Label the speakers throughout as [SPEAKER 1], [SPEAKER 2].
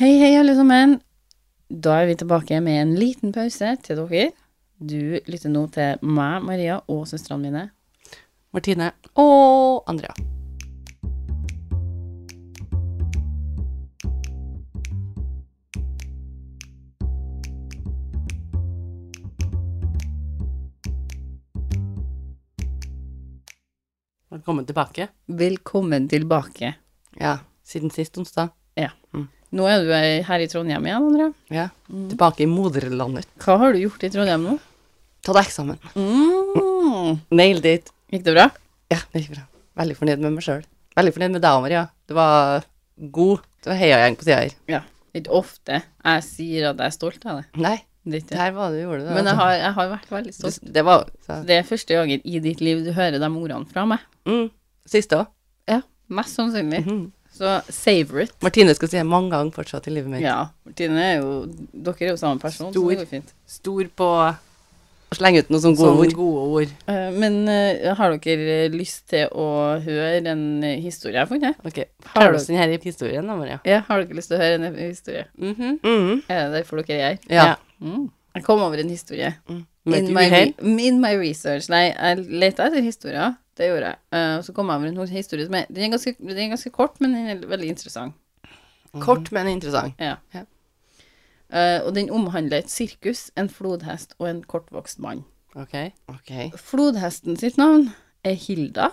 [SPEAKER 1] Hei, hei, alle sammen. Da er vi tilbake med en liten pause til dere. Du lytter nå til meg, Maria, og søstrene mine.
[SPEAKER 2] Martine og Andrea. Velkommen tilbake.
[SPEAKER 1] Velkommen tilbake.
[SPEAKER 2] Ja, Mm. siden sist onsdag.
[SPEAKER 1] Nå er du her i Trondheim igjen, André.
[SPEAKER 2] Ja, tilbake i moderlandet.
[SPEAKER 1] Hva har du gjort i Trondheim nå?
[SPEAKER 2] Ta deg eksamen.
[SPEAKER 1] Mm.
[SPEAKER 2] Nailed it.
[SPEAKER 1] Gikk det bra?
[SPEAKER 2] Ja, det gikk bra. Veldig fornøyd med meg sjøl. Veldig fornøyd med deg, Maria. Du var god. Du var heiagjeng på sida her.
[SPEAKER 1] Ja. Ikke ofte jeg sier at jeg er stolt av det.
[SPEAKER 2] Nei,
[SPEAKER 1] det er ikke
[SPEAKER 2] det
[SPEAKER 1] det.
[SPEAKER 2] her var det du gjorde. Det, altså.
[SPEAKER 1] Men jeg har, jeg har vært veldig stolt.
[SPEAKER 2] det, det var så,
[SPEAKER 1] Det er første gangen i ditt liv du hører de ordene fra meg.
[SPEAKER 2] mm, Siste òg.
[SPEAKER 1] Ja, mest sannsynlig. Så savor it.
[SPEAKER 2] Martine skal si det mange ganger fortsatt i livet mitt.
[SPEAKER 1] Ja, Martine er jo Dere er jo samme person, så
[SPEAKER 2] Stor.
[SPEAKER 1] det går fint.
[SPEAKER 2] Stor på å slenge ut noen sånne gode ord.
[SPEAKER 1] Eh, Men eh, har dere lyst til å høre en eh, historie jeg har funnet?
[SPEAKER 2] Ok,
[SPEAKER 1] Har
[SPEAKER 2] Fortell
[SPEAKER 1] du-
[SPEAKER 2] oss denne historien, da, Maria.
[SPEAKER 1] Ja, har dere lyst til å høre en historie?
[SPEAKER 2] Mhm.
[SPEAKER 1] Er det derfor dere er her?
[SPEAKER 2] Ja.
[SPEAKER 1] Mm. Jeg kom over en historie.
[SPEAKER 2] Med et
[SPEAKER 1] my,
[SPEAKER 2] uhell.
[SPEAKER 1] re- in my research. Nei, jeg lette etter historier. Det gjorde jeg. Eh, og så kom jeg over en historie som er Den er ganske, den er ganske kort, men den er veldig interessant.
[SPEAKER 2] Kort, men interessant.
[SPEAKER 1] Ja.
[SPEAKER 2] Ja.
[SPEAKER 1] Eh, og den omhandler et sirkus, en flodhest og en kortvokst mann.
[SPEAKER 2] Ok. ok.
[SPEAKER 1] Flodhesten sitt navn er Hilda,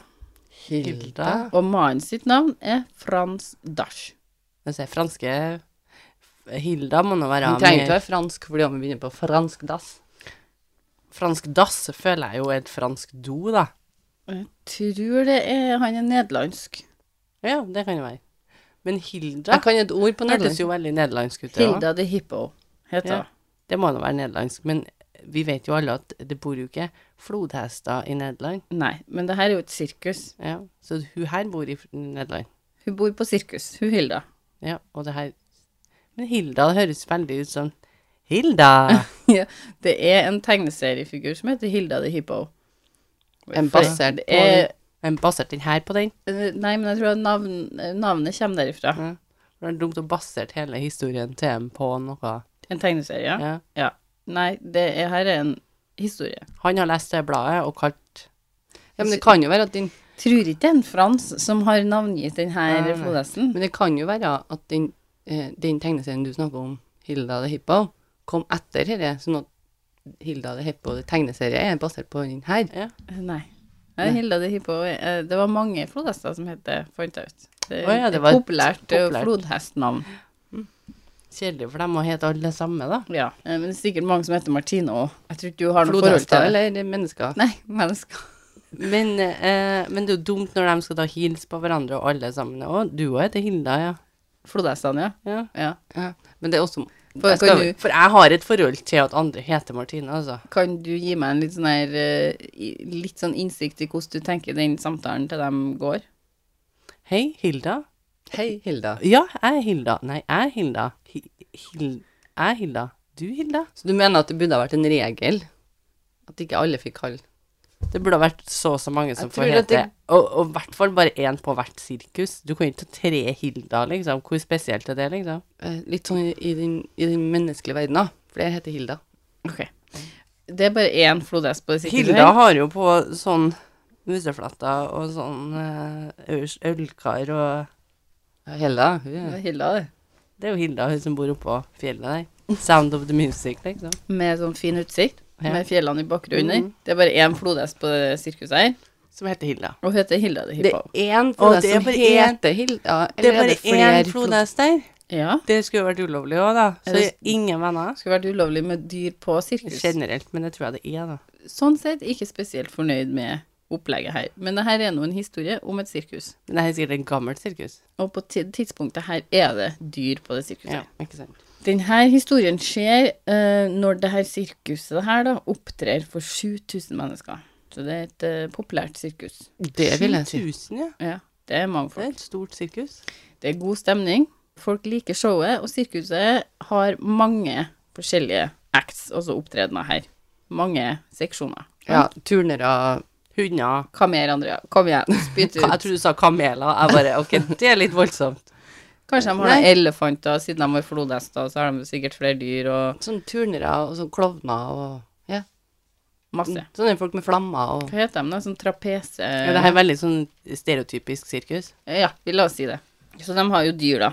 [SPEAKER 2] Hilda.
[SPEAKER 1] og mannen sitt navn er Frans Dasch.
[SPEAKER 2] Den ser franske Hilda må nå være
[SPEAKER 1] Hun trenger ikke
[SPEAKER 2] være fransk, fordi om vi begynner på fransk dass. Fransk dass føler jeg jo er et fransk do, da.
[SPEAKER 1] Jeg tror det er Han er nederlandsk.
[SPEAKER 2] Ja, det kan det være. Men Hilda
[SPEAKER 1] Jeg kan et ord på
[SPEAKER 2] det hørtes
[SPEAKER 1] nederlandsk.
[SPEAKER 2] jo veldig nederlandsk ut. det også.
[SPEAKER 1] Hilda the Hippo heter
[SPEAKER 2] Ja.
[SPEAKER 1] hun.
[SPEAKER 2] Det må nå være nederlandsk, men vi vet jo alle at det bor jo ikke flodhester i Nederland.
[SPEAKER 1] Nei, men det her er jo et sirkus.
[SPEAKER 2] Ja. Så hun her bor i f- Nederland.
[SPEAKER 1] Hun bor på sirkus, hun Hilda.
[SPEAKER 2] Ja, og det her Men Hilda, det høres veldig ut som Hilda!
[SPEAKER 1] Ja, det er en tegneseriefigur som heter Hilda the Hippo.
[SPEAKER 2] En basert
[SPEAKER 1] Det er,
[SPEAKER 2] Men baserte den her på den?
[SPEAKER 1] eh, Nei, men jeg tror at navn, eh, navnet kommer derifra.
[SPEAKER 2] Ja. Det er dumt å basere hele historien til dem på noe.
[SPEAKER 1] En tegneserie, ja.
[SPEAKER 2] Ja.
[SPEAKER 1] ja. Nei, det er, her er en historie.
[SPEAKER 2] Han har lest det bladet og kalt
[SPEAKER 1] Ja, men det
[SPEAKER 2] kan jo være at den
[SPEAKER 1] Tror ikke det er en Frans som har navngitt
[SPEAKER 2] Nei,
[SPEAKER 1] denne
[SPEAKER 2] nei.
[SPEAKER 1] flodhesten.
[SPEAKER 2] Men det kan jo være at den, eh, den tegneserien du snakker om, Hilda the Hippo, kom etter dette, sånn at Hilda the Hippo det tegneserie er basert på den her.
[SPEAKER 1] Nei. Nei, Hilda de Hippo eh, Det var mange flodhester som het det, fant jeg ut. Det,
[SPEAKER 2] Å ja, det
[SPEAKER 1] et
[SPEAKER 2] var et
[SPEAKER 1] populært, eh,
[SPEAKER 2] populært.
[SPEAKER 1] flodhestnavn.
[SPEAKER 2] Kjedelig for dem å hete alle samme, da.
[SPEAKER 1] Ja. eh, Men det er sikkert mange som heter Martine òg. Jeg tror ikke du har noe forhold
[SPEAKER 2] Flodhester
[SPEAKER 1] til det.
[SPEAKER 2] eller mennesker.
[SPEAKER 1] Nei, mennesker.
[SPEAKER 2] Men, eh, men det er jo dumt når de skal da hilse på hverandre og alle sammen. Å, du òg heter Hilda, ja.
[SPEAKER 1] Flodhestene,
[SPEAKER 2] ja.
[SPEAKER 1] ja. ja.
[SPEAKER 2] Men det er også
[SPEAKER 1] For
[SPEAKER 2] jeg
[SPEAKER 1] kan
[SPEAKER 2] skal,
[SPEAKER 1] du-
[SPEAKER 2] For jeg har et forhold til at andre heter Martine, altså.
[SPEAKER 1] Kan du gi meg en litt sånn her eh, i- Litt sånn innsikt i hvordan du tenker den samtalen til dem går?
[SPEAKER 2] Hei, Hilda.
[SPEAKER 3] Hei, Hilda.
[SPEAKER 2] Ja, jeg er Hilda. Nei, jeg er Hilda. Hi Hil jeg er Hilda. Du, Hilda?
[SPEAKER 3] Så du mener at det burde ha vært en regel? At ikke alle fikk kall?
[SPEAKER 2] Det burde ha vært så og så mange som
[SPEAKER 3] Jeg
[SPEAKER 2] får
[SPEAKER 3] tror
[SPEAKER 2] hete
[SPEAKER 3] at det-
[SPEAKER 2] Og og i hvert fall bare én på hvert sirkus. Du kan ikke ta tre Hilda, liksom. Hvor spesielt er det, liksom?
[SPEAKER 3] Eh, litt sånn i, i, den, i den menneskelige verden, da. For jeg heter Hilda.
[SPEAKER 1] Ok. Det er bare én flodhest på det sikkerheten.
[SPEAKER 2] Hilda har jo på sånn musefletter og sånn eh, øls- ølkar og
[SPEAKER 3] Ja, Hilda, hun
[SPEAKER 1] Det
[SPEAKER 3] er
[SPEAKER 1] var Hilda, det.
[SPEAKER 2] Det er jo Hilda, hun som bor oppå fjellet der. Sound of the music, liksom.
[SPEAKER 1] Med sånn fin utsikt,
[SPEAKER 2] Ja.
[SPEAKER 1] med fjellene i bakgrunnen.
[SPEAKER 2] Mhm.
[SPEAKER 1] Det er bare én flodhest på det sirkuset her.
[SPEAKER 2] Som heter Hilda.
[SPEAKER 1] Og hun heter Hilda the
[SPEAKER 3] Det
[SPEAKER 1] Hippo.
[SPEAKER 3] er én
[SPEAKER 2] Å,
[SPEAKER 3] flodhest
[SPEAKER 2] det er
[SPEAKER 3] som
[SPEAKER 2] bare én-
[SPEAKER 3] heter Hilda.
[SPEAKER 2] Det er
[SPEAKER 3] Eller
[SPEAKER 2] bare
[SPEAKER 3] flere
[SPEAKER 2] én flodhest der.
[SPEAKER 1] Ja.
[SPEAKER 2] Det skulle jo vært ulovlig òg, da. Så
[SPEAKER 1] Er det-
[SPEAKER 2] ingen venner.
[SPEAKER 1] Skulle vært ulovlig med dyr på sirkus.
[SPEAKER 2] Generelt, men det tror jeg det er, da.
[SPEAKER 1] Sånn sett ikke spesielt fornøyd med opplegget her. Men det her er nå en historie om et sirkus.
[SPEAKER 2] Men det her er sikkert et gammelt sirkus.
[SPEAKER 1] Og på ti- tidspunktet her er det dyr på det sirkuset.
[SPEAKER 2] Ja, ikke sant.
[SPEAKER 1] Denne historien skjer eh, når det her sirkuset her da, opptrer for 7000 mennesker. Så det er et eh, populært sirkus.
[SPEAKER 3] Det vil jeg si.
[SPEAKER 2] 7000, ja.
[SPEAKER 1] Ja, det er mange
[SPEAKER 2] Det
[SPEAKER 1] folk.
[SPEAKER 2] er et stort sirkus.
[SPEAKER 1] Det er god stemning. Folk liker showet, og sirkuset har mange forskjellige acts, altså opptredener her. Mange seksjoner.
[SPEAKER 3] Ja, turnere
[SPEAKER 2] Hunder.
[SPEAKER 1] Hva mer, Andrea? Kom igjen, spytt
[SPEAKER 2] Ka- Jeg
[SPEAKER 1] ut.
[SPEAKER 2] trodde du sa kameler. Jeg bare OK, det er litt voldsomt.
[SPEAKER 1] Kanskje de har
[SPEAKER 4] Nei.
[SPEAKER 1] noen elefanter, siden de har flodhester, så har de sikkert flere dyr og
[SPEAKER 4] Sånn turnere og sånn klovner og ja.
[SPEAKER 1] masse.
[SPEAKER 4] Sånne folk med flammer og
[SPEAKER 1] Hva heter de da? Sånn trapese...
[SPEAKER 4] Mm. ja, Det her er veldig sånn stereotypisk sirkus.
[SPEAKER 1] Ja, vi la oss si det. Så de har jo dyr, da.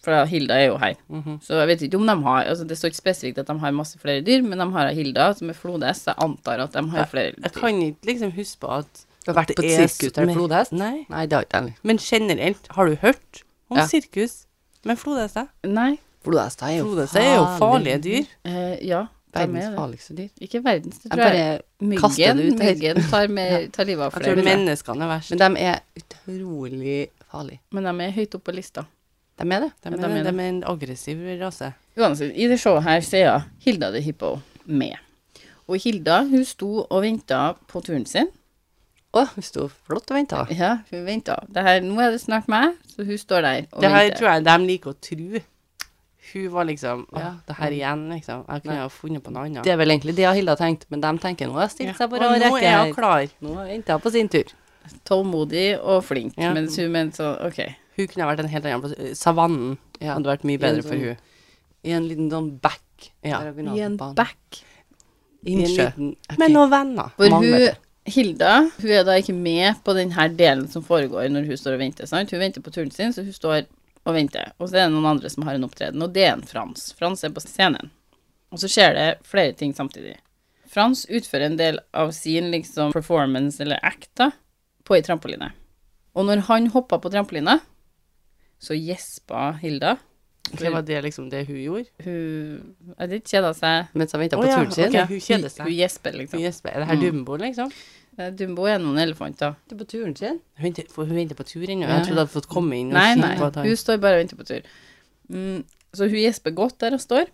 [SPEAKER 1] For Hilda er jo her.
[SPEAKER 4] Mhm.
[SPEAKER 1] Så jeg vet ikke om de har altså Det står ikke spesifikt at de har masse flere dyr, men de har Hilda, som er flodhest. så Jeg antar at de har flere
[SPEAKER 2] Jeg
[SPEAKER 1] dyr.
[SPEAKER 2] kan ikke liksom huske på at
[SPEAKER 4] Du har vært på
[SPEAKER 2] det er
[SPEAKER 4] et sirkus der
[SPEAKER 2] mer-
[SPEAKER 4] flodhest?
[SPEAKER 2] Nei.
[SPEAKER 4] Nei, det har ikke jeg heller.
[SPEAKER 2] Men generelt, har du hørt om
[SPEAKER 4] Ja.
[SPEAKER 2] sirkus med flodhester?
[SPEAKER 1] Nei.
[SPEAKER 4] Flodhester er jo
[SPEAKER 2] Flodhester er jo farlige dyr.
[SPEAKER 1] eh, ja, de er
[SPEAKER 4] Verdens
[SPEAKER 1] det.
[SPEAKER 4] farligste dyr.
[SPEAKER 1] Ikke verdens, det
[SPEAKER 4] Jeg
[SPEAKER 1] tror jeg.
[SPEAKER 4] bare kaster
[SPEAKER 1] Myggen,
[SPEAKER 4] det ut her.
[SPEAKER 1] myggen tar, med, tar livet av
[SPEAKER 2] Jeg tror
[SPEAKER 1] flere. Men,
[SPEAKER 2] menneskene er verst.
[SPEAKER 4] Men de er utrolig farlige.
[SPEAKER 1] de er høyt oppe på lista.
[SPEAKER 4] De er det.
[SPEAKER 2] De
[SPEAKER 1] Ja, de
[SPEAKER 2] er,
[SPEAKER 1] er det.
[SPEAKER 2] de er en aggressiv rase.
[SPEAKER 1] Uansett, i det showet her så er ja, Hilda the Hippo med. Og Hilda, hun sto og venta på turen sin.
[SPEAKER 4] Å, hun sto flott og venta.
[SPEAKER 1] Ja, hun venta. Det her, nå er det snart meg, så hun står der og
[SPEAKER 2] Det her
[SPEAKER 1] venter.
[SPEAKER 2] tror jeg de liker å tro. Hun var liksom Ja, det her igjen, liksom. Jeg kunne ha funnet på noe annet.
[SPEAKER 4] Det er vel egentlig det Hilda tenkte, men de tenker nå har jeg
[SPEAKER 2] Ja.
[SPEAKER 4] stilt seg på
[SPEAKER 2] Og
[SPEAKER 4] rad
[SPEAKER 2] nå er
[SPEAKER 4] rekke
[SPEAKER 2] jeg
[SPEAKER 4] her.
[SPEAKER 2] klar.
[SPEAKER 4] Nå venter jeg på sin tur.
[SPEAKER 1] tålmodig og flink,
[SPEAKER 2] Ja.
[SPEAKER 1] mens hun mente sånn OK.
[SPEAKER 2] Hun kunne ha vært en helt annen plass. Eh, Savannen
[SPEAKER 4] Ja.
[SPEAKER 2] hadde vært mye bedre
[SPEAKER 4] I en
[SPEAKER 2] for
[SPEAKER 4] sånn-
[SPEAKER 2] hun.
[SPEAKER 4] I en liten sånn bekk.
[SPEAKER 2] Ja.
[SPEAKER 4] Der hun kunne
[SPEAKER 1] I
[SPEAKER 4] ha
[SPEAKER 1] en
[SPEAKER 4] banen.
[SPEAKER 1] back.
[SPEAKER 4] Innsjø.
[SPEAKER 2] eh, I en liten-
[SPEAKER 4] Ok.
[SPEAKER 2] Med noen venner.
[SPEAKER 1] For
[SPEAKER 2] Mange
[SPEAKER 1] hun
[SPEAKER 2] venner.
[SPEAKER 1] Hilda hun er da ikke med på denne delen som foregår når hun står og venter. sant? Hun venter på turen sin, så hun står og venter. Og så er det noen andre som har en opptreden, og det er en Frans. Frans er på scenen. Og så skjer det flere ting samtidig. Frans utfører en del av sin liksom performance eller act da, på ei trampoline. Og når han hoppa på trampolina, så gjespa Hilda.
[SPEAKER 2] Det var det liksom det hun gjorde.
[SPEAKER 1] Hun hadde ikke kjeda seg.
[SPEAKER 4] Mens han venta
[SPEAKER 2] Å
[SPEAKER 4] på
[SPEAKER 2] ja,
[SPEAKER 4] turen sin.
[SPEAKER 2] ok, hun kjeder
[SPEAKER 1] Hun
[SPEAKER 2] seg.
[SPEAKER 1] gjesper, liksom.
[SPEAKER 2] Hun gjesper. Er det her Dumbo, liksom?
[SPEAKER 1] Eh, Dumbo er noen elefanter.
[SPEAKER 4] Venter på turen sin.
[SPEAKER 2] Hun venter, for hun venter på tur ennå.
[SPEAKER 4] Ja.
[SPEAKER 2] Jeg trodde hun hadde fått komme inn og
[SPEAKER 1] Nei,
[SPEAKER 2] kikke
[SPEAKER 1] nei,
[SPEAKER 2] på at han
[SPEAKER 1] hun står bare og venter på tur. Mm, så hun gjesper godt der hun står,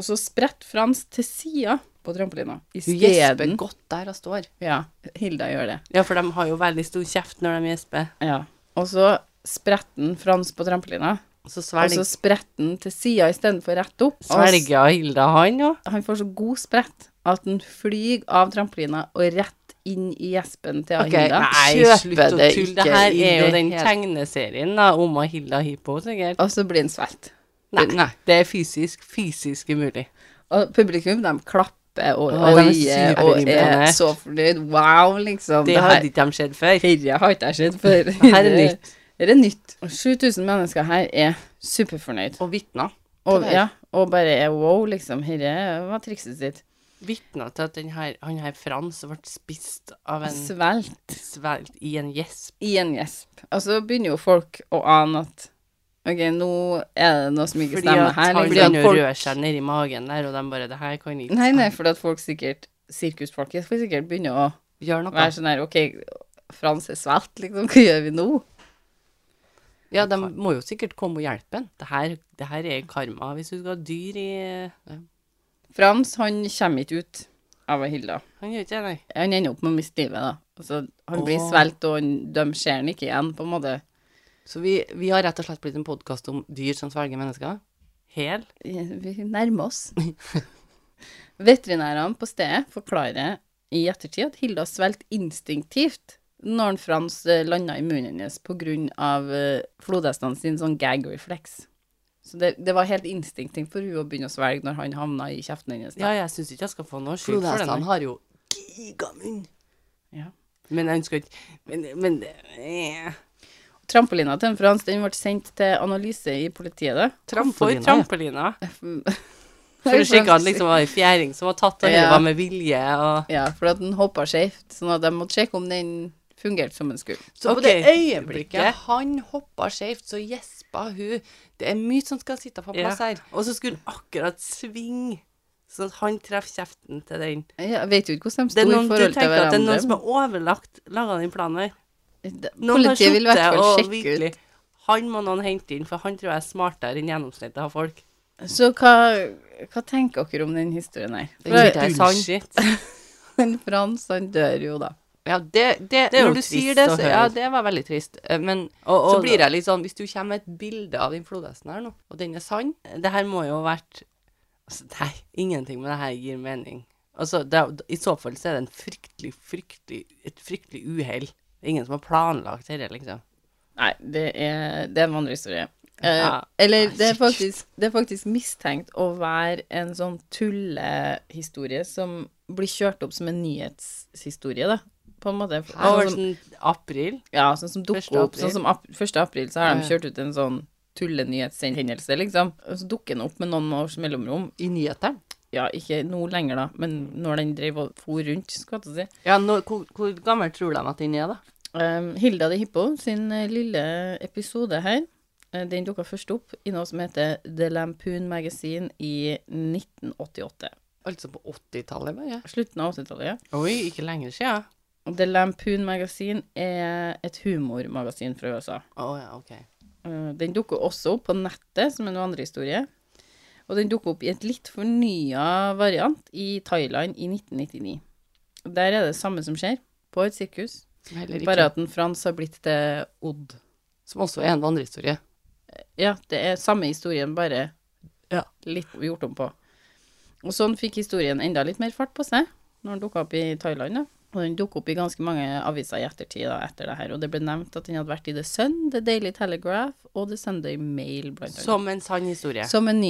[SPEAKER 1] og så spretter Frans til sida på trampolina.
[SPEAKER 4] Hun gjesper
[SPEAKER 2] Mm.
[SPEAKER 1] Isteden
[SPEAKER 4] godt der hun står.
[SPEAKER 1] Ja, Hilda gjør det.
[SPEAKER 2] Ja, for de har jo veldig stor kjeft når de gjesper.
[SPEAKER 1] Ja. Og så spretter han Frans på trampolina,
[SPEAKER 2] Og så
[SPEAKER 1] og så
[SPEAKER 2] svelger
[SPEAKER 1] spretter han til sida istedenfor rett opp. Og s-
[SPEAKER 2] svelger Hilda han òg.
[SPEAKER 1] han får så god sprett at han flyr av trampolina og rett inn i gjespen til
[SPEAKER 4] Ok,
[SPEAKER 1] Hilda.
[SPEAKER 4] Nei, slutt å tulle.
[SPEAKER 2] Det her
[SPEAKER 4] i
[SPEAKER 2] er jo
[SPEAKER 4] det
[SPEAKER 2] den
[SPEAKER 4] hele-
[SPEAKER 2] tegneserien da, om og Hilda Hippo, sikkert.
[SPEAKER 1] Og så blir han svelget.
[SPEAKER 2] Nei. Det er fysisk, fysisk umulig.
[SPEAKER 1] Og publikum, de klapper og
[SPEAKER 2] Å, de er
[SPEAKER 1] oier og er
[SPEAKER 2] superimponert.
[SPEAKER 1] så fornøyd. Wow, liksom.
[SPEAKER 2] Det
[SPEAKER 1] Det her,
[SPEAKER 2] hadde ikke de sett før.
[SPEAKER 1] dette har ikke jeg sett før.
[SPEAKER 2] Her er nytt.
[SPEAKER 1] Her er nytt. Og 7000 mennesker her er superfornøyd.
[SPEAKER 2] Og vitner.
[SPEAKER 1] Og,
[SPEAKER 4] det er-
[SPEAKER 1] ja, og bare er wow, liksom. Dette var trikset sitt.
[SPEAKER 2] Vitner til at den her, han her Frans ble spist av en
[SPEAKER 1] Svelt
[SPEAKER 2] svelt i en gjesp.
[SPEAKER 1] i en gjesp. Og så begynner jo folk å ane at OK, nå er det noe som ikke
[SPEAKER 2] Fordi
[SPEAKER 1] stemmer
[SPEAKER 2] at
[SPEAKER 1] her.
[SPEAKER 2] han
[SPEAKER 1] liksom.
[SPEAKER 2] begynner å
[SPEAKER 1] Folk-
[SPEAKER 2] røre seg nedi magen der, og de bare Det her kan ikke
[SPEAKER 1] Nei, nei, fordi at folk sikkert Sirkusfolk skal sikkert begynne å
[SPEAKER 4] Gjør noe.
[SPEAKER 1] være sånn her OK, Frans er svelt, liksom. Hva gjør vi nå?
[SPEAKER 4] Ja, de må jo sikkert komme og hjelpe han.
[SPEAKER 2] det her, det her er karma hvis du skal ha dyr i
[SPEAKER 1] Frans han kommer ikke ut av Hilda.
[SPEAKER 2] Han gjør ikke det, nei.
[SPEAKER 1] Han ender opp med å miste livet, da. Altså, han blir
[SPEAKER 2] Åh.
[SPEAKER 1] svelget, og han, de ser han ikke igjen, på en måte.
[SPEAKER 4] Så vi, vi har rett og slett blitt en podkast om dyr som svelger mennesker.
[SPEAKER 2] Hel.
[SPEAKER 1] Vi nærmer oss. Veterinærene på stedet forklarer i ettertid at Hilda svelget instinktivt når han Frans eh, landa i munnen hennes pga. flodhestene eh, sin sånn gag-reflex. Så det, det var helt instinktivt for hun å begynne å svelge når han havna i kjeften hennes. da.
[SPEAKER 2] Ja, jeg syns ikke jeg skal få noe skyld for det.
[SPEAKER 4] Flodhestene
[SPEAKER 2] nei.
[SPEAKER 4] har jo gigamunn.
[SPEAKER 1] Ja.
[SPEAKER 2] Men jeg ønsker ikke Men, men eh,
[SPEAKER 1] Trampolina til en Frans den ble sendt til analyse i politiet. da.
[SPEAKER 2] For
[SPEAKER 4] Trampolina, ja.
[SPEAKER 2] trampolina. For å sjekke at liksom var en fjæring som var tatt, og
[SPEAKER 1] Ja.
[SPEAKER 2] det var med vilje og
[SPEAKER 1] Ja, for at den hoppa skjevt, sånn at de måtte sjekke om den fungerte som den skulle.
[SPEAKER 4] Så
[SPEAKER 2] Ok,
[SPEAKER 4] på det øyeblikket
[SPEAKER 2] blikket.
[SPEAKER 4] han hoppa skjevt, så gjespa hun. Det er mye som skal sitte på
[SPEAKER 2] ja.
[SPEAKER 4] plass her.
[SPEAKER 2] Og så skulle han akkurat svinge, sånn at han treffer kjeften til den.
[SPEAKER 1] Jeg vet jo ikke hvordan de sto
[SPEAKER 2] Det er
[SPEAKER 1] i
[SPEAKER 2] noen, du
[SPEAKER 1] forhold til
[SPEAKER 2] tenker at det er noen som
[SPEAKER 1] hverandre.
[SPEAKER 2] har overlagt laga den planen her.
[SPEAKER 1] Det-
[SPEAKER 2] Noen har
[SPEAKER 1] Politiet vil i hvert
[SPEAKER 2] sittet
[SPEAKER 1] fall
[SPEAKER 2] og
[SPEAKER 1] sjekke ut.
[SPEAKER 2] virkelig- Han må noen hente inn, for han tror jeg er smartere enn gjennomsnittet av folk.
[SPEAKER 1] Så hva, hva tenker dere om den historien her?
[SPEAKER 4] Den er
[SPEAKER 1] For
[SPEAKER 4] ikke- sant.
[SPEAKER 2] Bullshit.
[SPEAKER 1] men Frans, han dør jo da.
[SPEAKER 4] Ja, det, det,
[SPEAKER 2] Det er jo
[SPEAKER 4] når du
[SPEAKER 2] trist
[SPEAKER 4] sier det,
[SPEAKER 2] å
[SPEAKER 4] så, ja,
[SPEAKER 2] høre.
[SPEAKER 4] det var veldig trist. Eh, Men
[SPEAKER 2] Og- og-
[SPEAKER 4] så blir jeg litt sånn Hvis du kommer med et bilde av den flodhesten her nå, og den er sann
[SPEAKER 2] Det her må jo ha vært altså, Nei, ingenting med det her gir mening. Altså, det, er- I så fall så er det en fryktelig, fryktelig, et fryktelig uhell. Det er ingen som har planlagt dette, liksom.
[SPEAKER 1] Nei, det er, det er en vanlig historie. Eh,
[SPEAKER 2] Ja.
[SPEAKER 1] Eller det er, faktisk, det er faktisk mistenkt å være en sånn tullehistorie som blir kjørt opp som en nyhetshistorie, da. På en måte.
[SPEAKER 2] Hva var det
[SPEAKER 1] Sånn,
[SPEAKER 2] sånn april?
[SPEAKER 1] ja, sånn som
[SPEAKER 2] Første
[SPEAKER 1] dukker opp.
[SPEAKER 2] april?
[SPEAKER 1] Sånn som ap 1. april, så har
[SPEAKER 4] Ja,
[SPEAKER 1] de
[SPEAKER 4] ja.
[SPEAKER 1] kjørt ut en sånn tullenyhetshendelse, liksom. Og så dukker den opp med noen års mellomrom.
[SPEAKER 4] I nyhetene?
[SPEAKER 1] Ja, ikke nå lenger, da, men når den drev og for rundt, skulle jeg til å si.
[SPEAKER 2] Ja, nå- hvor, hvor gammel tror de at den er, da?
[SPEAKER 1] Um, Hilda de Hippo sin eh, lille episode her, eh, den dukka først opp i noe som heter The Lampoon Magazine i 1988.
[SPEAKER 4] Altså på 80-tallet, bare.
[SPEAKER 1] Slutten av 80-tallet, ja.
[SPEAKER 2] Oi, ikke lenger siden.
[SPEAKER 1] Og The Lampoon Magazine er et humormagasin fra USA.
[SPEAKER 2] Å ja, OK.
[SPEAKER 1] Eh, Den dukker også opp på nettet, som er noen andre historier. Og den dukker opp i et litt fornya variant i Thailand i 1999. Der er det samme som skjer, på et sirkus.
[SPEAKER 4] Som heller ikke
[SPEAKER 1] Bare at en Frans har blitt til Odd.
[SPEAKER 4] Som også er en vandrehistorie.
[SPEAKER 1] Ja, det er samme historien, bare
[SPEAKER 4] Ja.
[SPEAKER 1] litt gjort om på. Og sånn fikk historien enda litt mer fart på seg når den dukka opp i Thailand. da. Og den dukka opp i ganske mange aviser i ettertid da, etter det her. Og det ble nevnt at den hadde vært i The Sun, The Daily Telegraph og The Sunday Mail, blant annet.
[SPEAKER 2] Som en sann historie.
[SPEAKER 1] Som en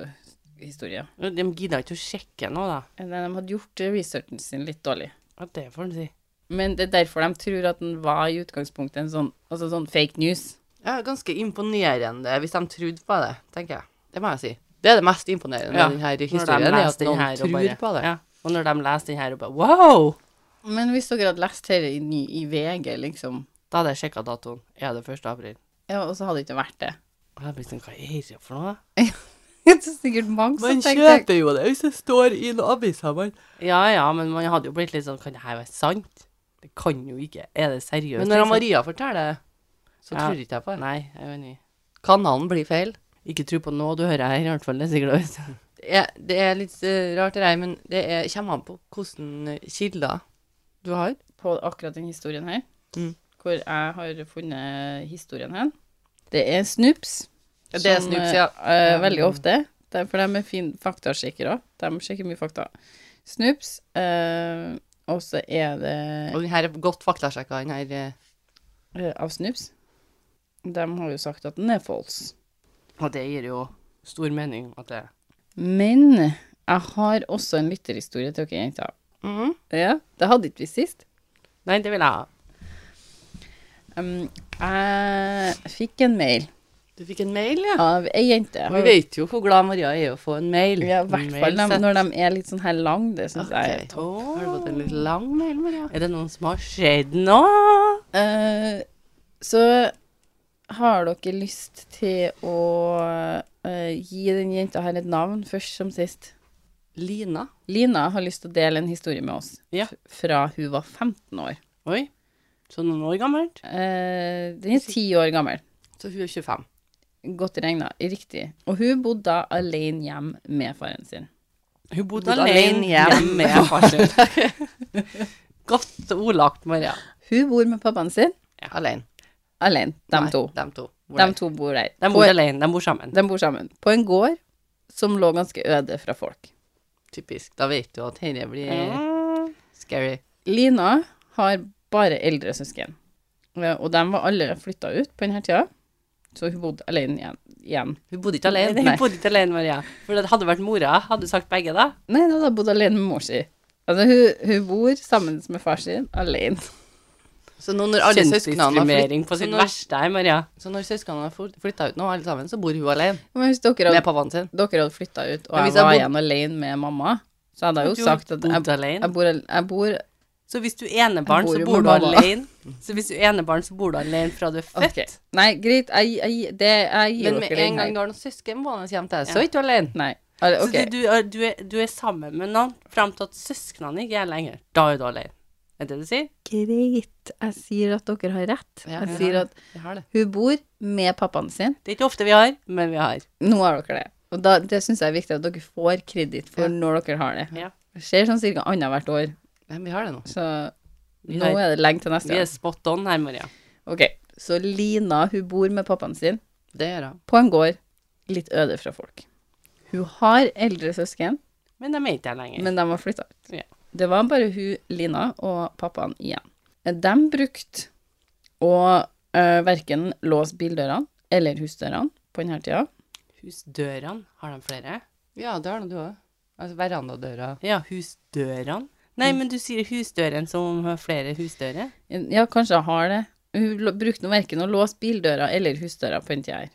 [SPEAKER 1] nyhetshistorie.
[SPEAKER 2] De gidder ikke å sjekke nå, da.
[SPEAKER 1] de hadde gjort eh, researchen sin litt dårlig.
[SPEAKER 2] Ja, det får en si.
[SPEAKER 1] Men det er derfor de tror at den var i utgangspunktet en sånn, altså sånn fake news.
[SPEAKER 4] Ja, ganske imponerende hvis de trodde på det, tenker jeg. Det må jeg si. Det er det mest imponerende med denne historien, er at noen
[SPEAKER 2] her og
[SPEAKER 4] tror
[SPEAKER 2] bare-
[SPEAKER 4] på det.
[SPEAKER 2] Ja, og når de leser den her og bare Wow!
[SPEAKER 1] Men hvis dere hadde lest dette i, ny- i VG, liksom,
[SPEAKER 2] Da hadde jeg sjekka datoen. Er det 1. april?
[SPEAKER 1] ja, og så hadde det ikke vært det.
[SPEAKER 2] Og jeg blir sånn, hva er det for noe?
[SPEAKER 1] Det er sikkert mange som tenker
[SPEAKER 4] jo det hvis det står i noen aviser, mann.
[SPEAKER 2] Ja ja, men man hadde jo blitt litt sånn Kan det her være sant? Det kan jo ikke. Er det seriøst?
[SPEAKER 4] Men når
[SPEAKER 2] liksom?
[SPEAKER 4] Maria forteller det, så
[SPEAKER 2] Ja.
[SPEAKER 4] tror ikke jeg på det.
[SPEAKER 2] Nei, jeg er enig.
[SPEAKER 4] Kanalen blir feil.
[SPEAKER 2] Ikke tro på nå, du hører her, i hvert fall. Det er sikkert også.
[SPEAKER 4] Det er, det er litt eh, rart det der, men det er, kommer an på hvordan kilder du har.
[SPEAKER 1] på akkurat den historien her,
[SPEAKER 4] Mm.
[SPEAKER 1] hvor jeg har funnet historien hen. Det er Snoops.
[SPEAKER 4] Ja, det er
[SPEAKER 1] som,
[SPEAKER 4] Snoops, ja.
[SPEAKER 1] eh, eh, veldig ofte. Det er- for de er fin faktasjekkere. De sjekker mye fakta. Snoops, eh, og så er det
[SPEAKER 4] Og den her er godt faktasjekka, den her eh,
[SPEAKER 1] eh, av Snoops. De har jo sagt at den er false.
[SPEAKER 2] Og det gir jo stor mening at det
[SPEAKER 1] Men jeg har også en lytterhistorie til dere jenter.
[SPEAKER 4] Mm-hmm.
[SPEAKER 1] Ja, det hadde ikke vi sist.
[SPEAKER 2] Nei, det vil jeg ha.
[SPEAKER 1] Um, jeg fikk en mail
[SPEAKER 4] Du fikk en mail, ja.
[SPEAKER 1] av ei jente.
[SPEAKER 4] Og vi vet jo hvor glad Maria er å få en mail.
[SPEAKER 1] Ja, i hvert fall
[SPEAKER 2] Mail
[SPEAKER 1] de,
[SPEAKER 2] sett.
[SPEAKER 1] når de er litt sånn her lang, det syns jeg.
[SPEAKER 4] Ok, topp. Har du fått en litt lang mail, Maria?
[SPEAKER 2] Er det noen som har skjedd nå?
[SPEAKER 1] Eh, så har dere lyst til å eh, gi den jenta her et navn, først som sist?
[SPEAKER 4] Lina.
[SPEAKER 1] Lina har lyst til å dele en historie med oss
[SPEAKER 2] Ja.
[SPEAKER 1] f- fra hun var 15 år.
[SPEAKER 2] Oi. Så noen år gammelt?
[SPEAKER 1] Eh, den er ti år gammel.
[SPEAKER 4] Så hun er 25.
[SPEAKER 1] Godt regna. Riktig. Og hun bodde da alene hjem med faren sin.
[SPEAKER 2] Hun bodde
[SPEAKER 4] Bodde
[SPEAKER 2] alene
[SPEAKER 4] alene
[SPEAKER 2] hjemme med far sin.
[SPEAKER 4] Godt ordlagt, Maria.
[SPEAKER 1] Hun bor med pappaen sin
[SPEAKER 4] Alene.
[SPEAKER 1] alene, de
[SPEAKER 4] Nei,
[SPEAKER 1] to.
[SPEAKER 4] Dem to.
[SPEAKER 1] De to bor der.
[SPEAKER 2] De
[SPEAKER 1] På-
[SPEAKER 2] bor alene, de bor sammen.
[SPEAKER 1] de bor sammen. På en gård som lå ganske øde fra folk.
[SPEAKER 4] Typisk. Da vet du at dette blir
[SPEAKER 2] Mm.
[SPEAKER 4] scary.
[SPEAKER 1] Lina har bare eldre søsken, Eh, og de var alle flytta ut på denne tida, så hun bodde alene igjen. igjen.
[SPEAKER 4] Hun bodde ikke
[SPEAKER 2] Alene.
[SPEAKER 4] alene.
[SPEAKER 2] Hun bodde ikke alene, Maria. For det hadde vært mora, hadde du sagt begge da?
[SPEAKER 1] Nei, da hadde hun bodd alene med mor si. Altså, hun, hun bor sammen med far sin alene.
[SPEAKER 4] Så nå når alle søsknene har
[SPEAKER 2] Kjønnsdiskriminering
[SPEAKER 4] flytt-
[SPEAKER 2] på
[SPEAKER 4] så
[SPEAKER 2] sitt
[SPEAKER 4] når-
[SPEAKER 2] verste her, Maria.
[SPEAKER 4] Så når søsknene har flytta ut nå, alle sammen, så bor hun alene
[SPEAKER 1] Men hvis dere
[SPEAKER 4] med
[SPEAKER 1] hadde,
[SPEAKER 4] pappaen sin.
[SPEAKER 1] dere hadde flytta ut, og
[SPEAKER 4] Men
[SPEAKER 1] jeg
[SPEAKER 4] hvis jeg
[SPEAKER 1] var
[SPEAKER 4] bod-
[SPEAKER 1] igjen alene med mamma, så hadde jeg
[SPEAKER 2] Du
[SPEAKER 1] jo sagt at jeg,
[SPEAKER 2] bodde alene.
[SPEAKER 1] jeg, bor, al- jeg bor
[SPEAKER 2] Så hvis du er enebarn,
[SPEAKER 1] Jeg
[SPEAKER 2] så
[SPEAKER 1] bor
[SPEAKER 2] bor
[SPEAKER 1] jo
[SPEAKER 2] du
[SPEAKER 1] med mamma.
[SPEAKER 2] alene. Så hvis du er enebarn, så bor du alene fra du er født.
[SPEAKER 1] Ok. Nei, greit, jeg, jeg, det, jeg gir
[SPEAKER 4] Men med
[SPEAKER 1] dere den
[SPEAKER 4] en
[SPEAKER 1] her.
[SPEAKER 4] gang du har noen søsken boende hjemme til deg, så er ikke du alene.
[SPEAKER 1] Nei. al-
[SPEAKER 2] Så
[SPEAKER 1] ok.
[SPEAKER 2] det, du, er, du, er, du er sammen med noen fram til at søsknene ikke er lenger. Da er du alene. Er det det du sier?
[SPEAKER 1] Greit. Jeg sier at dere har rett.
[SPEAKER 4] Ja,
[SPEAKER 1] jeg
[SPEAKER 4] ja.
[SPEAKER 1] sier at
[SPEAKER 4] Jeg har det.
[SPEAKER 1] hun bor med pappaen sin.
[SPEAKER 2] Det er ikke ofte vi har, men vi har.
[SPEAKER 1] Nå har dere det. Og da, det syns jeg er viktig at dere får kreditt for når dere har det.
[SPEAKER 2] Ja.
[SPEAKER 1] Det skjer sånn ca. annethvert år,
[SPEAKER 4] Ja, vi har det nå.
[SPEAKER 1] så
[SPEAKER 2] Vi
[SPEAKER 1] nå
[SPEAKER 2] har-
[SPEAKER 1] er det lenge til
[SPEAKER 2] Vi
[SPEAKER 1] neste
[SPEAKER 2] er
[SPEAKER 1] år.
[SPEAKER 2] spot on her, Maria.
[SPEAKER 1] Ok, så Lina, hun bor med pappaen sin
[SPEAKER 4] Det gjør hun.
[SPEAKER 1] på en gård litt øde fra folk. Hun har eldre søsken,
[SPEAKER 2] Men de er ikke her lenger.
[SPEAKER 1] men de har flytta ut.
[SPEAKER 2] Ja.
[SPEAKER 1] Det var bare hun, Lina, og pappaen igjen. De brukte å uh, verken eh, låse bildørene eller husdørene på denne tida.
[SPEAKER 2] Husdørene, har de flere?
[SPEAKER 4] Ja, det har nå du òg. Altså verandadøra.
[SPEAKER 2] Ja, husdørene.
[SPEAKER 4] Mm.
[SPEAKER 2] Nei, men du sier husdøren som om hun har flere husdører.
[SPEAKER 1] Ja, kanskje jeg har det. Hun lå- brukte nå verken å låse bildøra eller husdøra på den tida her.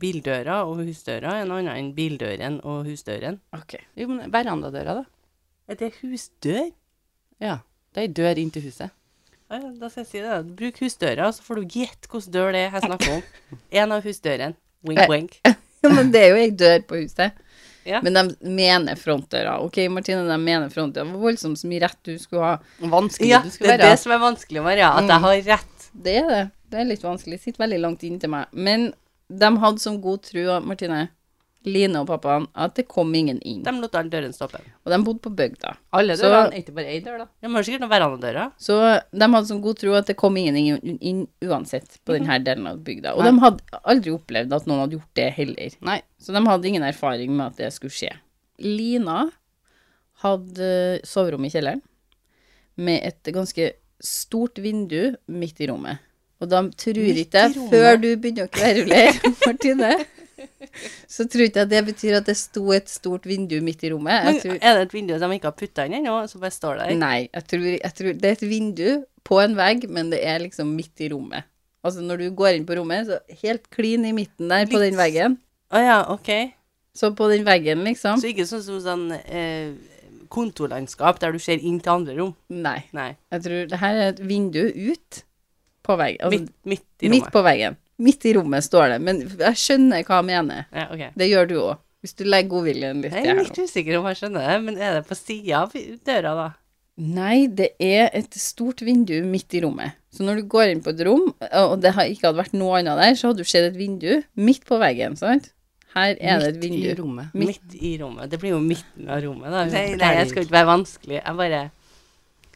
[SPEAKER 2] Bildøra og husdøra er noe annet enn bildøren og husdøren.
[SPEAKER 1] Ok.
[SPEAKER 4] Jo, men verandadøra, da.
[SPEAKER 2] Er det husdør?
[SPEAKER 4] Ja. Det er ei dør inn til huset.
[SPEAKER 2] Ja, ja, da skal jeg si det. da. Bruk husdøra, så får du gjette hvilken dør det er jeg snakker om. En av husdørene. Wink,
[SPEAKER 1] Eh.
[SPEAKER 2] wink.
[SPEAKER 1] Men det er jo ei dør på huset.
[SPEAKER 2] Ja.
[SPEAKER 1] Men de mener frontdøra. Ok, Martine, de mener frontdøra. Det var voldsomt så mye rett du skulle ha.
[SPEAKER 4] Vanskelig
[SPEAKER 2] Ja,
[SPEAKER 4] du
[SPEAKER 2] det
[SPEAKER 4] skulle
[SPEAKER 2] er det
[SPEAKER 4] være.
[SPEAKER 2] som er vanskelig, Maria. At
[SPEAKER 1] Mm.
[SPEAKER 2] jeg har rett.
[SPEAKER 1] Det er det. Det er litt vanskelig. Det Sitter veldig langt inntil meg. Men de hadde som god tro, Martine, Line og pappaen, at det kom ingen inn.
[SPEAKER 2] De lot alle dørene stoppe.
[SPEAKER 1] Og de bodde på bygda.
[SPEAKER 4] Alle
[SPEAKER 1] Så-
[SPEAKER 4] dørene er ikke bare ei dør, da.
[SPEAKER 2] De har sikkert noen verandadører.
[SPEAKER 1] Så de hadde som god tro at det kom ingen inn, inn uansett
[SPEAKER 2] Mhm.
[SPEAKER 1] på denne delen av bygda. Og de hadde aldri opplevd at noen hadde gjort det heller.
[SPEAKER 4] Nei.
[SPEAKER 1] Så de hadde ingen erfaring med at det skulle skje. Lina hadde eh, soverom i kjelleren med et ganske stort vindu midt i rommet. Og de tror
[SPEAKER 2] Midt
[SPEAKER 1] ikke
[SPEAKER 2] i rommet?
[SPEAKER 1] før du begynner å kverulere, Martine, så tror ikke jeg det betyr at det sto et stort vindu midt i rommet.
[SPEAKER 2] Men
[SPEAKER 1] Jeg tror, Mm.
[SPEAKER 2] er det et vindu de ikke har putta inn ennå, så bare står der?
[SPEAKER 1] Nei, jeg tror, jeg tror det er et vindu på en vegg, men det er liksom midt i rommet. Altså når du går inn på rommet, så helt klin i midten der på
[SPEAKER 2] Litt-
[SPEAKER 1] den veggen.
[SPEAKER 2] Å ja, OK.
[SPEAKER 1] Så på den veggen, liksom.
[SPEAKER 2] Så ikke sånn som sånn eh, kontorlandskap der du ser inn til andre rom.
[SPEAKER 1] Nei.
[SPEAKER 2] Nei.
[SPEAKER 1] Jeg tror det her er et vindu ut på veggen. Altså,
[SPEAKER 2] Midt, midt i
[SPEAKER 1] midt,
[SPEAKER 2] rommet.
[SPEAKER 1] på veggen. Midt i rommet står det, men jeg skjønner hva jeg mener.
[SPEAKER 2] Ja, ok.
[SPEAKER 1] Det gjør du òg, hvis du legger godviljen litt i
[SPEAKER 2] Jeg
[SPEAKER 1] her
[SPEAKER 2] er
[SPEAKER 1] nå.
[SPEAKER 2] litt usikker om jeg skjønner det, men er det på sida av døra, da?
[SPEAKER 1] Nei, det er et stort vindu midt i rommet. Så når du går inn på et rom, og det har ikke hadde vært noe annet der, så hadde du sett et vindu midt på veggen, sant? Her er det et
[SPEAKER 4] Midt i
[SPEAKER 1] vindu.
[SPEAKER 4] rommet.
[SPEAKER 1] Midt-
[SPEAKER 2] Midt i rommet. Det blir jo midten av rommet, da.
[SPEAKER 4] Nei,
[SPEAKER 2] Nei,
[SPEAKER 4] nei,
[SPEAKER 2] jeg skal ikke være vanskelig. Jeg bare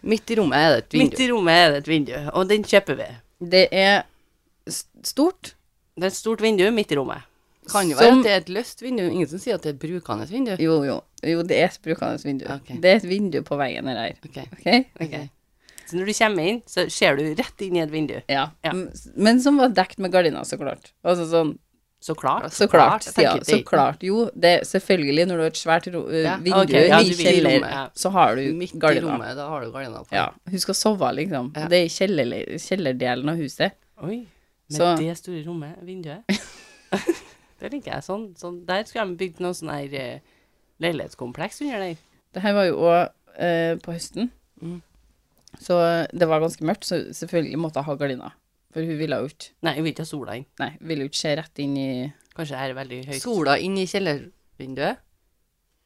[SPEAKER 4] Midt i rommet er det et
[SPEAKER 2] Midt
[SPEAKER 4] vindu.
[SPEAKER 2] i rommet er det et vindu, og den kjøper vi.
[SPEAKER 1] Det er s- stort.
[SPEAKER 2] Det er et stort vindu midt i rommet.
[SPEAKER 4] Kan jo være
[SPEAKER 1] som-
[SPEAKER 4] at det er et løst vindu. Ingen som sier at det er et brukende vindu.
[SPEAKER 1] Jo, jo. Jo, det er et brukende vindu.
[SPEAKER 4] Ok.
[SPEAKER 1] Det er et vindu på veggen her. her.
[SPEAKER 4] Ok.
[SPEAKER 1] Ok?
[SPEAKER 4] ok.
[SPEAKER 2] Så når du kommer inn, så ser du rett inn i et vindu.
[SPEAKER 1] Ja.
[SPEAKER 2] Ja.
[SPEAKER 1] M- Men som var dekt med gardiner, så klart. Altså sånn
[SPEAKER 2] Så klart.
[SPEAKER 1] Så klart,
[SPEAKER 4] klart,
[SPEAKER 1] sier
[SPEAKER 4] jeg
[SPEAKER 1] jeg.
[SPEAKER 4] tenker
[SPEAKER 1] Så
[SPEAKER 4] det-
[SPEAKER 1] klart. Jo, det er selvfølgelig når du har et svært ro eh,
[SPEAKER 4] Ja,
[SPEAKER 1] vindu
[SPEAKER 2] ok, ja,
[SPEAKER 1] i
[SPEAKER 2] du vil-
[SPEAKER 1] kjeller,
[SPEAKER 2] rommet.
[SPEAKER 1] så har du
[SPEAKER 4] Midt i
[SPEAKER 1] gardiner.
[SPEAKER 4] rommet, da har du gardina på.
[SPEAKER 1] Ja, hun skal sove, liksom.
[SPEAKER 4] Ja.
[SPEAKER 1] Det er i kjeller, kjellerdelen av huset.
[SPEAKER 2] Oi. Med
[SPEAKER 1] Så-
[SPEAKER 2] det store rommet, vinduet. det liker jeg sånn. sånn. Der skulle de bygd noe sånn her eh, leilighetskompleks under der.
[SPEAKER 1] Det her var jo òg eh, på høsten,
[SPEAKER 4] Mm.
[SPEAKER 1] så eh, det var ganske mørkt, så selvfølgelig måtte jeg ha gardina. For hun ville jo ikke
[SPEAKER 2] Nei, jeg vil ikke ha sola inn.
[SPEAKER 1] Nei, ville jo ikke se rett inn i
[SPEAKER 2] Kanskje det her er veldig høyt.
[SPEAKER 4] Sola inn i kjellervinduet.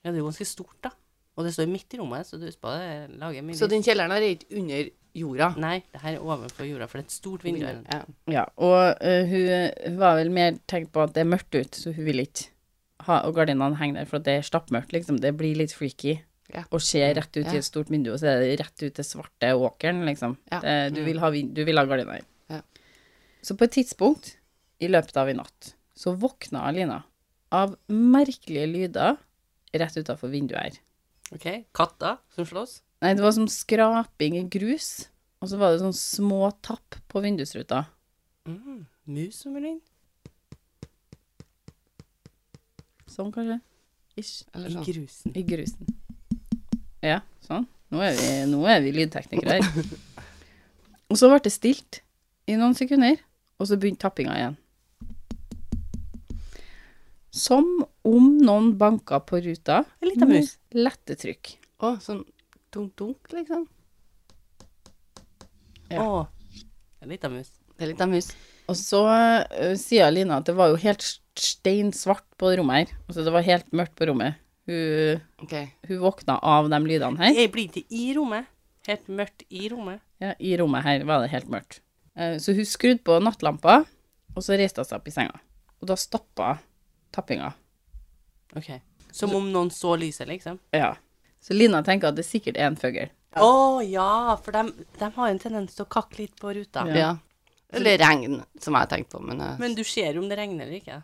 [SPEAKER 2] Ja, det er jo ganske stort, da. Og det står midt i rommet, så du husker på det lager mye
[SPEAKER 4] Så
[SPEAKER 2] lyd.
[SPEAKER 4] den kjelleren her er ikke under jorda.
[SPEAKER 2] Nei, det her er ovenfor jorda, for det er et stort vindu. her.
[SPEAKER 4] Ja.
[SPEAKER 1] Ja, og eh, hun, hun var vel mer tenkt på at det er mørkt ute, så hun ville ikke ha og gardinene henger der, for at det er stappmørkt, liksom. Det blir litt freaky
[SPEAKER 4] Ja.
[SPEAKER 1] å se rett ut
[SPEAKER 4] Ja.
[SPEAKER 1] i et stort vindu, og så er det rett ut til svarte åkeren, liksom.
[SPEAKER 4] Ja. Mm.
[SPEAKER 1] Det, du, vil ha, vin- du vil ha gardiner.
[SPEAKER 4] Ja.
[SPEAKER 1] Så på et tidspunkt i løpet av i natt, så våkna Alina av merkelige lyder rett utafor vinduet her.
[SPEAKER 2] Ok, Katter som slåss?
[SPEAKER 1] Nei, det var som skraping i grus, og så var det sånn små tapp på vindusruta.
[SPEAKER 2] Mm. Mus som vil inn?
[SPEAKER 1] Sånn, kanskje? Ish.
[SPEAKER 4] Eller
[SPEAKER 2] I
[SPEAKER 4] sånn.
[SPEAKER 2] grusen.
[SPEAKER 1] I grusen. Ja, sånn. Nå er vi, nå er vi lydteknikere her. Og så ble det stilt i noen sekunder, og så begynte tappinga igjen. Som om noen banka på ruta
[SPEAKER 2] En liten mus.
[SPEAKER 1] med lette trykk.
[SPEAKER 4] Å, sånn dunk-dunk, liksom.
[SPEAKER 1] Ja.
[SPEAKER 2] Å, en liten mus.
[SPEAKER 4] Det er litt av mus.
[SPEAKER 1] Og så ø, sier Lina at det var jo helt s- steinsvart på rommet her. Altså det var helt mørkt på rommet. Hun,
[SPEAKER 4] Ok.
[SPEAKER 1] hun våkna av de lydene her.
[SPEAKER 2] Jeg blir ikke i rommet. Helt mørkt i rommet.
[SPEAKER 1] Ja, I rommet her var det helt mørkt. Eh, Så hun skrudde på nattlampa, og så reiste hun seg opp i senga. Og da stoppa tappinga.
[SPEAKER 2] Ok. Som om noen så lyset, liksom.
[SPEAKER 1] Ja. Så Lina tenker at det sikkert er en fugl.
[SPEAKER 2] Å ja, for de, har en tendens til å kakke litt på ruta.
[SPEAKER 1] Ja.
[SPEAKER 4] Ja. Eller regn, som jeg har tenkt på, men, eh,
[SPEAKER 2] Men du ser jo om det regner eller ikke.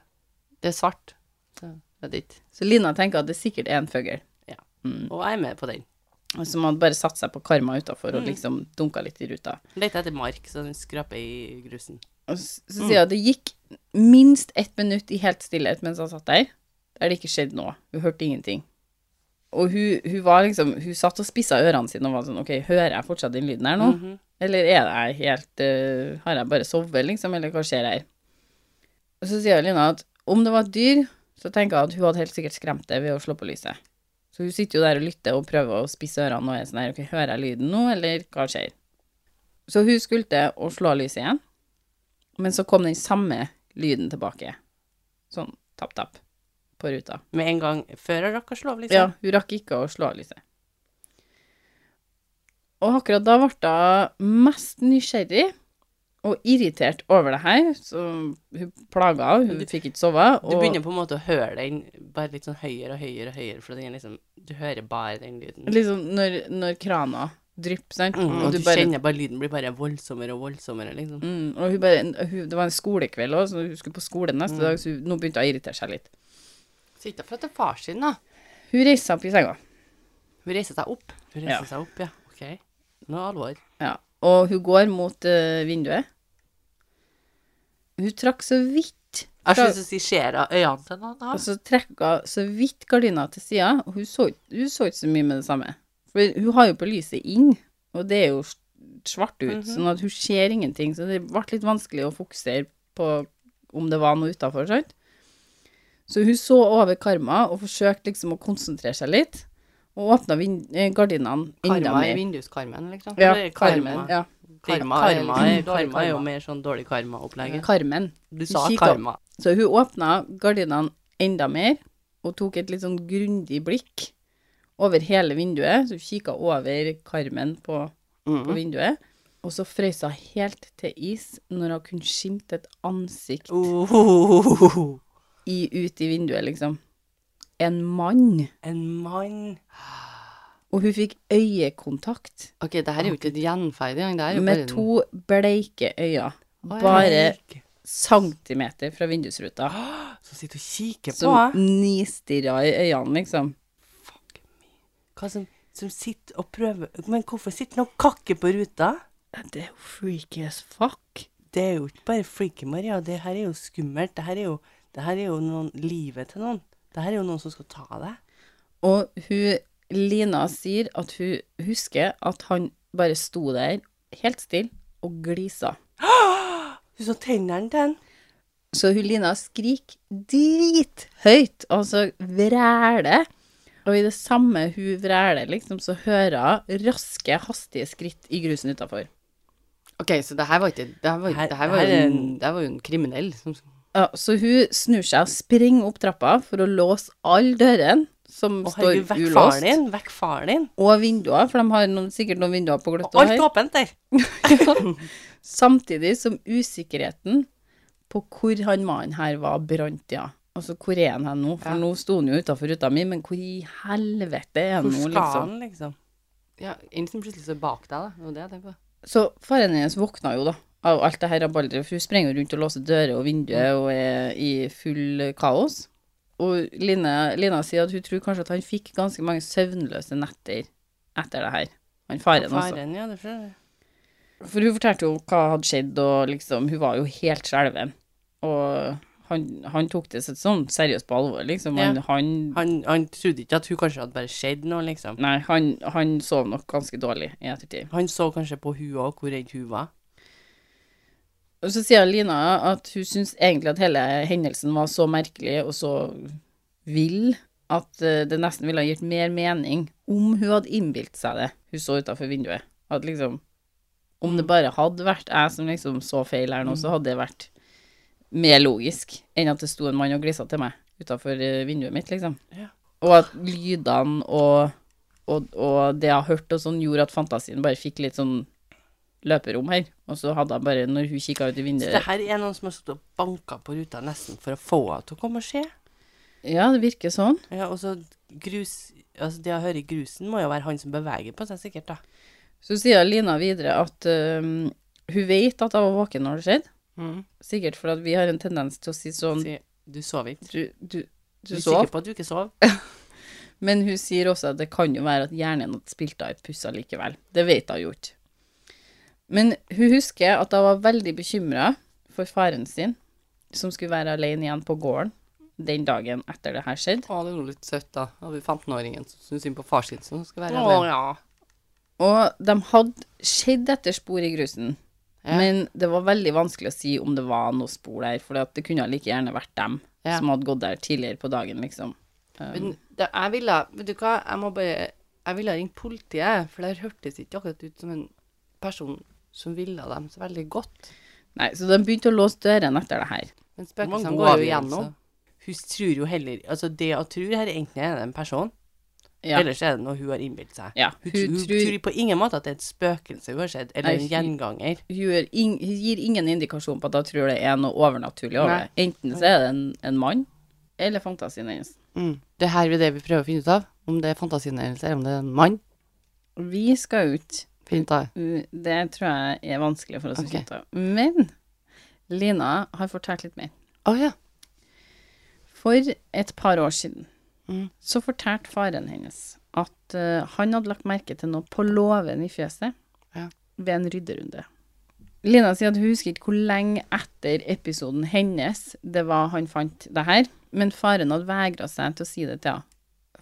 [SPEAKER 4] det er svart. Så jeg vet ikke.
[SPEAKER 1] Så Lina tenker at det sikkert er en fugl,
[SPEAKER 2] Og jeg er med på den.
[SPEAKER 1] som hadde bare satt seg på karma utafor og liksom dunka litt i ruta.
[SPEAKER 2] Leter etter mark, så den skraper sånn i grusen.
[SPEAKER 1] Og s- så sier hun at det gikk minst ett minutt i helt stillhet mens han satt der, der det ikke skjedde noe. Hun hørte ingenting. Og hun, hun var liksom Hun satt og spissa ørene sine og var sånn OK, hører jeg fortsatt den lyden her nå? Eller er jeg helt eh, Har jeg bare sovet, liksom? Eller hva skjer her? Og så sier Lina at om det var et dyr, så tenker jeg at hun hadde helt sikkert skremt det ved å slå på lyset. Så hun sitter jo der og lytter og prøver å spisse ørene og er sånn her OK, hører jeg lyden nå, eller hva skjer? Så hun skulle til å slå av lyset igjen. Men så kom den samme lyden tilbake. Sånn tapp-tapp på ruta.
[SPEAKER 2] Med en gang før jeg rakk å slå av, liksom.
[SPEAKER 1] Ja, hun rakk ikke å slå av lyset. Og akkurat da ble hun mest nysgjerrig og irritert over det her, så hun plaga henne, hun fikk ikke sove.
[SPEAKER 2] Du
[SPEAKER 1] Og
[SPEAKER 2] begynner på en måte å høre den bare litt sånn høyere og høyere og høyere, for den er liksom Du hører bare den lyden.
[SPEAKER 1] liksom når, når krana drypper, sant,
[SPEAKER 2] Mm,
[SPEAKER 1] og
[SPEAKER 2] og
[SPEAKER 1] du
[SPEAKER 2] du
[SPEAKER 1] bare
[SPEAKER 2] kjenner bare lyden blir bare voldsommere og voldsommere, liksom.
[SPEAKER 1] Mm, og hun bare, hun, det var en skolekveld òg, så hun skulle på skole
[SPEAKER 2] Mm.
[SPEAKER 1] neste dag, så hun, nå begynte hun å irritere seg litt.
[SPEAKER 4] Sitter for at det er far sin, da.
[SPEAKER 1] Hun reiste seg opp i senga,
[SPEAKER 4] Hun reiser seg opp.
[SPEAKER 2] Hun reiser
[SPEAKER 1] Ja.
[SPEAKER 2] seg opp, ja. OK. Nå er det alvor.
[SPEAKER 1] ja, og hun går mot eh, vinduet. Hun trakk så vidt fra-
[SPEAKER 2] Jeg syns du ser av øynene til noen, da.
[SPEAKER 1] Og så trekka så vidt gardina til sida, og hun så, ikke- hun så ikke så mye med det samme. For hun har jo på lyset inn, og det er jo s- svart ut, sånn at hun ser ingenting. Så det ble litt vanskelig å fokusere på om det var noe utafor, sant. Så hun så over karma og forsøkte liksom å konsentrere seg litt, og åpna vin- eh, gardinene enda
[SPEAKER 4] Karma i
[SPEAKER 1] mer.
[SPEAKER 4] vinduskarmen, liksom.
[SPEAKER 1] Ja,
[SPEAKER 2] Det er
[SPEAKER 1] karmen.
[SPEAKER 2] karmen.
[SPEAKER 1] Ja.
[SPEAKER 2] Karma,
[SPEAKER 4] Karma er-
[SPEAKER 2] karma, er,
[SPEAKER 4] dårlig
[SPEAKER 2] karma er jo
[SPEAKER 4] karma.
[SPEAKER 2] mer sånn dårlig karma-opplegget.
[SPEAKER 1] Karmen.
[SPEAKER 2] Du sa
[SPEAKER 1] Kikk opp.
[SPEAKER 2] karma.
[SPEAKER 1] Så hun åpna gardinene enda mer, og tok et litt sånn grundig blikk over hele vinduet. Så hun kikka over karmen på, på vinduet, og så frøs hun helt til is når hun kunne skimte et ansikt
[SPEAKER 2] Oh,
[SPEAKER 1] i, ut i vinduet, liksom. En mann.
[SPEAKER 2] en mann
[SPEAKER 1] Og hun fikk øyekontakt
[SPEAKER 4] Ok, det her er jo ikke et gjenferd engang. Det her er jo
[SPEAKER 1] med
[SPEAKER 4] bare
[SPEAKER 1] to bleike øyne.
[SPEAKER 4] Oi.
[SPEAKER 1] Bare centimeter fra vindusruta.
[SPEAKER 2] som sitter og kikker på
[SPEAKER 1] Som
[SPEAKER 2] deg.
[SPEAKER 1] nistirra i øynene, liksom.
[SPEAKER 2] Hva som, som sitter og prøver Men hvorfor sitter han og kakker på ruta?
[SPEAKER 1] Det er jo freaky as fuck.
[SPEAKER 2] Det er jo ikke bare freaky, Maria. Det her er jo skummelt. Det her er jo, det her er jo noen, livet til noen. Det her er jo noen som skal ta deg.
[SPEAKER 1] Og hun, Lina sier at hun husker at han bare sto der helt stille og glisa.
[SPEAKER 2] Du så tennene til han.
[SPEAKER 1] Så hun Lina skriker drithøyt, altså vræler. Og i det samme hun vræler, liksom, så hører hun raske, hastige skritt i grusen utafor.
[SPEAKER 4] Ok, så det her var ikke Det her var,
[SPEAKER 2] Her-
[SPEAKER 4] det her var,
[SPEAKER 2] her
[SPEAKER 4] jo,
[SPEAKER 2] er
[SPEAKER 4] en,
[SPEAKER 2] en-
[SPEAKER 4] det her var jo en kriminell som
[SPEAKER 1] Ja, så hun snur seg og springer opp trappa for å låse alle dørene som
[SPEAKER 2] Å,
[SPEAKER 1] står
[SPEAKER 2] herregud, vekk faren
[SPEAKER 1] ulåst,
[SPEAKER 2] din. Vekk faren din.
[SPEAKER 1] og vinduer, for de har noen, sikkert noen vinduer på
[SPEAKER 2] Og
[SPEAKER 1] gløtt.
[SPEAKER 2] Alt åpent der.
[SPEAKER 1] Samtidig som usikkerheten på hvor han mannen her var brant, ja. Altså, hvor er han her nå? For nå sto han jo utafor ruta mi, men hvor i helvete er han nå,
[SPEAKER 2] Hvor skal
[SPEAKER 1] liksom?
[SPEAKER 2] han, liksom?
[SPEAKER 4] Ja, en som plutselig står bak deg, da. Det var det jeg tenkte på.
[SPEAKER 1] Så faren hennes våkna jo, da, av alt det her rabalderet. For hun sprenger jo rundt og låser dører og
[SPEAKER 2] Mm.
[SPEAKER 1] vinduer og er i full kaos. Og Lina, Lina sier at hun tror kanskje at han fikk ganske mange søvnløse netter etter det her. Han faren, altså.
[SPEAKER 2] Faren, ja, det skjønner jeg.
[SPEAKER 1] For hun fortalte jo hva hadde skjedd, og liksom, hun var jo helt skjelven. Og han, han tok det så- sånn seriøst på alvor, liksom. Han,
[SPEAKER 2] Ja.
[SPEAKER 1] han,
[SPEAKER 2] Han, han trodde ikke at hun kanskje hadde bare skjedd noe, liksom.
[SPEAKER 1] nei, han, han sov nok ganske dårlig i ettertid.
[SPEAKER 2] Han så kanskje på hun òg, hvor redd hun var.
[SPEAKER 1] Og så sier Lina at hun syns egentlig at hele hendelsen var så merkelig og så vill at eh, det nesten ville ha gitt mer mening om hun hadde innbilt seg det hun så utafor vinduet. At liksom Om det bare hadde vært jeg som liksom så feil her nå, så hadde det vært mer logisk enn at det sto en mann og glisa til meg utafor vinduet mitt, liksom.
[SPEAKER 2] Ja.
[SPEAKER 1] Og at lydene og, og, og det jeg har hørt og sånn, gjorde at fantasien bare fikk litt sånn løperom her. Og så hadde jeg bare, når hun kikka ut i
[SPEAKER 2] Så
[SPEAKER 1] vinduet
[SPEAKER 2] det her er noen som har stått og banka på ruta nesten for å få henne til å komme og se.
[SPEAKER 1] Ja, det virker sånn.
[SPEAKER 2] Ja, og så grus Altså, det å høre grusen må jo være han som beveger på seg, sikkert, da.
[SPEAKER 1] Så sier Lina videre at øhm, hun vet at jeg var våken når det skjedde.
[SPEAKER 2] Mm.
[SPEAKER 1] Sikkert fordi at vi har en tendens til å si sånn
[SPEAKER 4] Mm.
[SPEAKER 2] Si, du sov ikke.
[SPEAKER 1] Du, du,
[SPEAKER 2] Du
[SPEAKER 1] du
[SPEAKER 2] er
[SPEAKER 1] sov.
[SPEAKER 2] sikker på at du ikke sov?
[SPEAKER 1] Men hun sier også at det kan jo være at hjernen hadde spilt av et puss likevel. Det vet hun jo ikke. Men hun husker at hun var veldig bekymra for faren sin, som skulle være alene igjen på gården den dagen etter det her skjedde.
[SPEAKER 4] Å, det er jo litt søtt, da. Av 15-åringen som syns synd på far sin, som skal være
[SPEAKER 2] Å,
[SPEAKER 4] alene.
[SPEAKER 2] ja.
[SPEAKER 1] Og de hadde sett etter spor i grusen,
[SPEAKER 4] Ja.
[SPEAKER 1] men det var veldig vanskelig å si om det var noe spor der, for det kunne like gjerne vært dem
[SPEAKER 4] Ja.
[SPEAKER 1] som hadde gått der tidligere på dagen, liksom. Um,
[SPEAKER 4] Men det, jeg ville Vet du hva, jeg må bare Jeg ville ringt politiet, for det hørtes ikke akkurat ut som en person som ville dem så veldig godt.
[SPEAKER 1] nei, så de begynte å låse dørene etter det her.
[SPEAKER 4] Men
[SPEAKER 2] Det var en
[SPEAKER 4] spøkelsene
[SPEAKER 2] god
[SPEAKER 4] går jo
[SPEAKER 2] avgjørelse.
[SPEAKER 4] igjennom.
[SPEAKER 2] altså? Hun tror jo heller Altså, det hun tror her, enten er det en person,
[SPEAKER 1] Ja.
[SPEAKER 2] eller så er det noe hun har innbilt seg.
[SPEAKER 1] Ja,
[SPEAKER 2] Hun,
[SPEAKER 1] hun
[SPEAKER 2] hun,
[SPEAKER 1] tror-
[SPEAKER 2] tror på ingen måte at det er et spøkelse hun har sett, eller
[SPEAKER 1] Nei,
[SPEAKER 2] en
[SPEAKER 1] hun-
[SPEAKER 2] gjenganger.
[SPEAKER 1] Hun gjør ing- hun gir ingen indikasjon på at hun tror det er noe overnaturlig over
[SPEAKER 4] Nei.
[SPEAKER 1] det. Enten så er det en, en mann, eller fantasien hennes.
[SPEAKER 4] Mm. Det her er det vi prøver å finne ut av. Om det er fantasien hennes, eller om det er en mann.
[SPEAKER 1] Vi skal ut
[SPEAKER 4] Finne ut av.
[SPEAKER 1] Uh, Det tror jeg er vanskelig for oss
[SPEAKER 4] Ok.
[SPEAKER 1] å skjønne. Men Lina har fortalt litt mer.
[SPEAKER 4] Å ja.
[SPEAKER 1] For et par år siden
[SPEAKER 4] Mm.
[SPEAKER 1] så fortalte faren hennes at eh, han hadde lagt merke til noe på låven i fjøset
[SPEAKER 4] Ja.
[SPEAKER 1] ved en rydderunde. Lina sier at hun husker ikke hvor lenge etter episoden hennes det var han fant det her, men faren hadde vegra seg til å si det til henne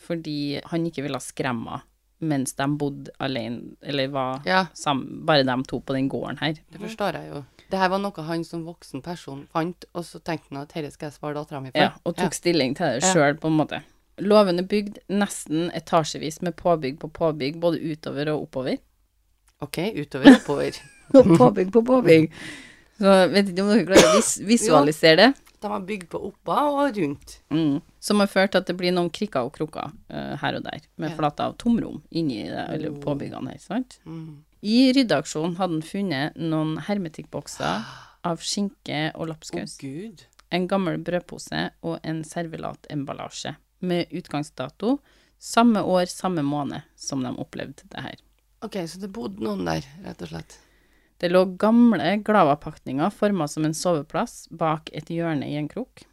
[SPEAKER 1] fordi han ikke ville skremme henne mens de bodde alene, eller var
[SPEAKER 4] ja.
[SPEAKER 1] sammen, bare de to på den gården her.
[SPEAKER 4] Det forstår jeg jo. Det her var noe han som voksen person fant, og så tenkte han at dette skal jeg svare dattera mi for.
[SPEAKER 1] Ja, og tok stilling til det
[SPEAKER 4] Ja.
[SPEAKER 1] sjøl, på en måte. Låven er bygd nesten etasjevis med påbygg på påbygg, både utover og oppover.
[SPEAKER 4] OK, utover oppover.
[SPEAKER 1] påbygg på påbygg. Så vet ikke om dere klarer å vis visualisere det.
[SPEAKER 4] De har bygd på oppa og rundt.
[SPEAKER 1] Mm. Som har ført til at det blir noen krikker og krukker eh, her og der, med
[SPEAKER 4] Ja.
[SPEAKER 1] flater av tomrom inni det, eller påbyggene her, sant?
[SPEAKER 4] Mm.
[SPEAKER 1] I ryddeaksjonen hadde han funnet noen hermetikkbokser av skinke og
[SPEAKER 2] Å,
[SPEAKER 1] lapskaus.
[SPEAKER 2] gud.
[SPEAKER 1] en gammel brødpose og en servelatemballasje med utgangsdato samme år, samme måned som de opplevde det her.
[SPEAKER 4] OK, så det bodde noen der, rett og slett.
[SPEAKER 1] Det lå gamle Glava-pakninger forma som en soveplass bak et hjørne i en krok,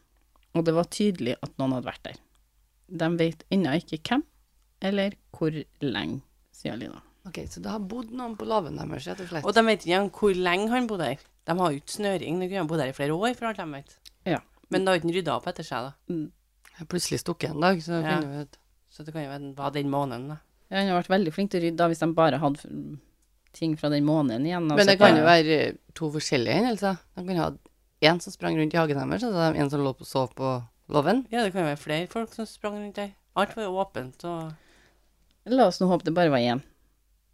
[SPEAKER 1] og det var tydelig at noen hadde vært der. De vet ennå ikke hvem eller hvor lenge, sier Lina.
[SPEAKER 4] OK, så det har bodd noen på låven deres, rett og slett.
[SPEAKER 2] Og de vet ikke engang hvor lenge han bodde der. De har jo ikke snøring. De kunne ha bodd der i flere år, for alt de vet.
[SPEAKER 1] Ja.
[SPEAKER 2] Men da har ikke han rydda opp etter seg, da.
[SPEAKER 4] Jeg har plutselig stukket en dag, så
[SPEAKER 2] Ja.
[SPEAKER 4] finner vi ut.
[SPEAKER 2] Så det kan jo være den var den måneden, da.
[SPEAKER 1] Ja, Han har vært veldig flink til å rydde da, hvis de bare hadde mm, ting fra den måneden igjen. altså,
[SPEAKER 4] Men det kan
[SPEAKER 1] bare-
[SPEAKER 4] jo være to forskjellige hendelser. De kan ha en som sprang rundt i hagen deres, og så har de en som lå på sov på låven.
[SPEAKER 2] Ja, det kan jo være flere folk som sprang rundt der. Alt var jo åpent og
[SPEAKER 1] La oss nå håpe det bare var én.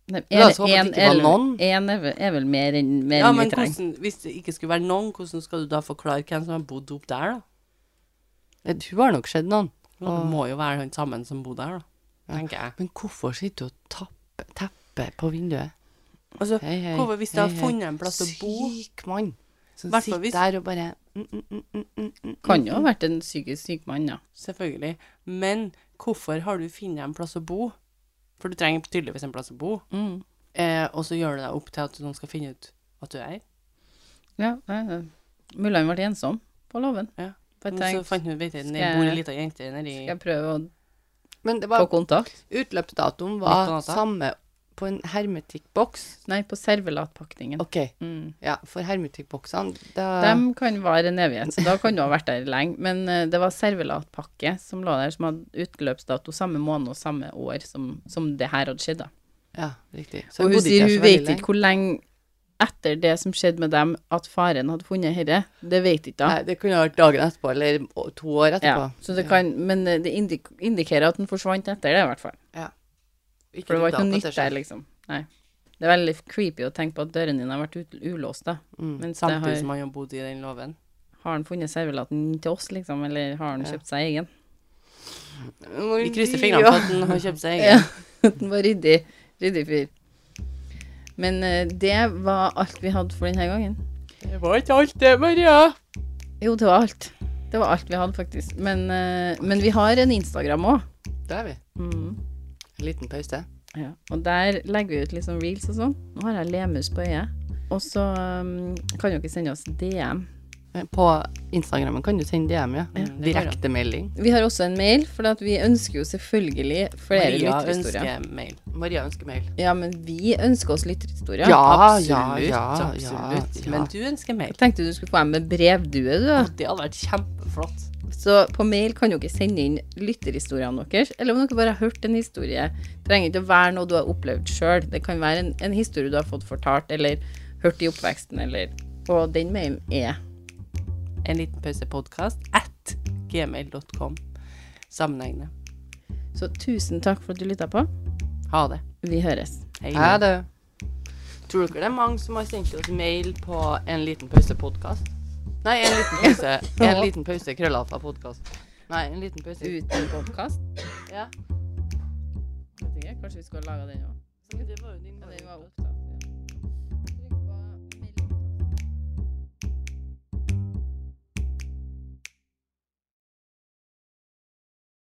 [SPEAKER 1] Nei,
[SPEAKER 4] La oss
[SPEAKER 1] er-
[SPEAKER 4] håpe at det
[SPEAKER 1] en
[SPEAKER 4] ikke var
[SPEAKER 1] eller-
[SPEAKER 4] noen.
[SPEAKER 1] En er, vel- er vel mer enn mer
[SPEAKER 2] Ja,
[SPEAKER 1] enn vi
[SPEAKER 2] men
[SPEAKER 1] trenger.
[SPEAKER 2] hvordan, hvis det ikke skulle være noen, hvordan skal du da forklare hvem som har bodd opp der, da?
[SPEAKER 4] Det hun har nok skjedd noen.
[SPEAKER 2] Ja,
[SPEAKER 4] Åh.
[SPEAKER 2] Det må jo være han sammen som bodde der, da. Tenker jeg.
[SPEAKER 4] Men hvorfor sitter hun og tapper teppet på vinduet?
[SPEAKER 2] Altså,
[SPEAKER 4] Hei, hei.
[SPEAKER 2] hvorfor hvis de
[SPEAKER 4] hei,
[SPEAKER 2] har
[SPEAKER 4] hei.
[SPEAKER 2] funnet en plass å bo
[SPEAKER 4] Syk mann. Som
[SPEAKER 2] Hvertfall
[SPEAKER 4] sitter
[SPEAKER 2] hvis-
[SPEAKER 4] der og bare mm, mm, mm, mm, mm, mm.
[SPEAKER 1] Kan jo ha vært en psykisk syk mann, ja.
[SPEAKER 2] Selvfølgelig. Men hvorfor har du funnet en plass å bo? For du trenger tydeligvis en plass å bo.
[SPEAKER 1] Mm.
[SPEAKER 2] Eh, og så gjør du deg opp til at noen skal finne ut at du er her.
[SPEAKER 1] ja nei, nei. Mulig han ble ensom på låven.
[SPEAKER 2] Ja.
[SPEAKER 1] Bare
[SPEAKER 2] Men så
[SPEAKER 1] tenkt,
[SPEAKER 2] fant du ut at
[SPEAKER 1] skal
[SPEAKER 2] det
[SPEAKER 1] jeg-
[SPEAKER 2] bor ei lita jente nedi
[SPEAKER 1] skal jeg prøve å
[SPEAKER 4] Men det
[SPEAKER 1] få
[SPEAKER 4] var,
[SPEAKER 1] kontakt?
[SPEAKER 2] Midt på
[SPEAKER 4] utløpsdatoen var
[SPEAKER 2] natta.
[SPEAKER 4] samme på en hermetikkboks.
[SPEAKER 1] Nei, på servelatpakningen.
[SPEAKER 4] OK,
[SPEAKER 1] Mm.
[SPEAKER 4] ja, for hermetikkboksene da...
[SPEAKER 1] De kan vare en evighet, så da kan du ha vært der lenge. Men eh, det var servelatpakke som lå der, som hadde utløpsdato samme måned og samme år som, som det her hadde skjedd, da.
[SPEAKER 4] Ja, riktig.
[SPEAKER 1] og
[SPEAKER 4] jeg
[SPEAKER 1] hun
[SPEAKER 4] bodde ikke
[SPEAKER 1] sier
[SPEAKER 4] her så
[SPEAKER 1] hun
[SPEAKER 4] veldig
[SPEAKER 1] vet
[SPEAKER 4] lenge.
[SPEAKER 1] ikke hvor lenge etter det som skjedde med dem, at faren hadde funnet dette. Det vet ikke hun.
[SPEAKER 4] Nei, det kunne ha vært dagen etterpå, eller å- to år etterpå.
[SPEAKER 1] Ja, så det kan, men eh, det indik indikerer at den forsvant etter det, i hvert fall.
[SPEAKER 4] Ikke
[SPEAKER 1] For det var
[SPEAKER 4] to
[SPEAKER 1] ikke noe
[SPEAKER 4] dager
[SPEAKER 1] nytt
[SPEAKER 4] etter
[SPEAKER 1] der,
[SPEAKER 4] seg.
[SPEAKER 1] liksom. Nei. Det er veldig creepy å tenke på at døren din har vært ut- ulåst, da.
[SPEAKER 4] Mm.
[SPEAKER 1] Mens det
[SPEAKER 2] samtidig
[SPEAKER 1] har,
[SPEAKER 2] som han har bodd i den låven.
[SPEAKER 1] har han funnet servelaten til oss, liksom, eller har han
[SPEAKER 4] Ja.
[SPEAKER 1] kjøpt seg egen?
[SPEAKER 4] liksom.
[SPEAKER 2] Vi krysser fingrene for at han har kjøpt seg
[SPEAKER 1] Ja,
[SPEAKER 2] egen.
[SPEAKER 1] at den var ryddig, ryddig fyr. Men eh, det var alt vi hadde for denne gangen.
[SPEAKER 2] Det var ikke alt det, Maria.
[SPEAKER 1] Jo, det var alt. Det var alt vi hadde, faktisk. Men, eh, men vi har en Instagram òg.
[SPEAKER 4] Der er vi. En liten pause.
[SPEAKER 1] Mm. Ja, og der legger vi ut litt sånn reels og sånn. Nå har jeg lemus på øyet. Og så um, kan dere sende oss DM
[SPEAKER 4] Eh, På Instagrammen kan du sende DM, ja. Direktemelding.
[SPEAKER 1] Vi har også en mail, for at vi ønsker jo selvfølgelig flere
[SPEAKER 2] Maria
[SPEAKER 1] lytterhistorier.
[SPEAKER 2] ønsker mail.
[SPEAKER 4] Maria ønsker mail.
[SPEAKER 1] Ja, men vi ønsker oss lytterhistorier.
[SPEAKER 4] Ja,
[SPEAKER 2] absolutt,
[SPEAKER 4] ja, ja,
[SPEAKER 2] absolutt.
[SPEAKER 4] ja.
[SPEAKER 2] Men du ønsker mail.
[SPEAKER 1] Jeg tenkte du skulle få dem med brevdue, du. da.
[SPEAKER 2] Det hadde vært kjempeflott.
[SPEAKER 1] Så på mail kan dere sende inn lytterhistoriene deres, eller om dere bare har hørt en historie. Det trenger ikke å være noe du har opplevd sjøl. Det kan være en, en historie du har fått fortalt, eller hørt i oppveksten, eller Og den mailen er
[SPEAKER 2] En liten pause podcast at gmail.com. Sammenhengende.
[SPEAKER 1] Så tusen takk for at du lytta på.
[SPEAKER 2] Ha det.
[SPEAKER 1] Vi høres.
[SPEAKER 2] Hei.
[SPEAKER 4] Ha det. Tror dere det er mange som har sendt oss mail på En liten pause podkast? Nei, En liten pause En liten pause krøllalfa podkast. Nei, En liten pause
[SPEAKER 1] Uten podkast.
[SPEAKER 4] Ja.
[SPEAKER 1] Kanskje vi skulle ha laga den òg.
[SPEAKER 4] Det var jo din
[SPEAKER 1] Den var opptatt.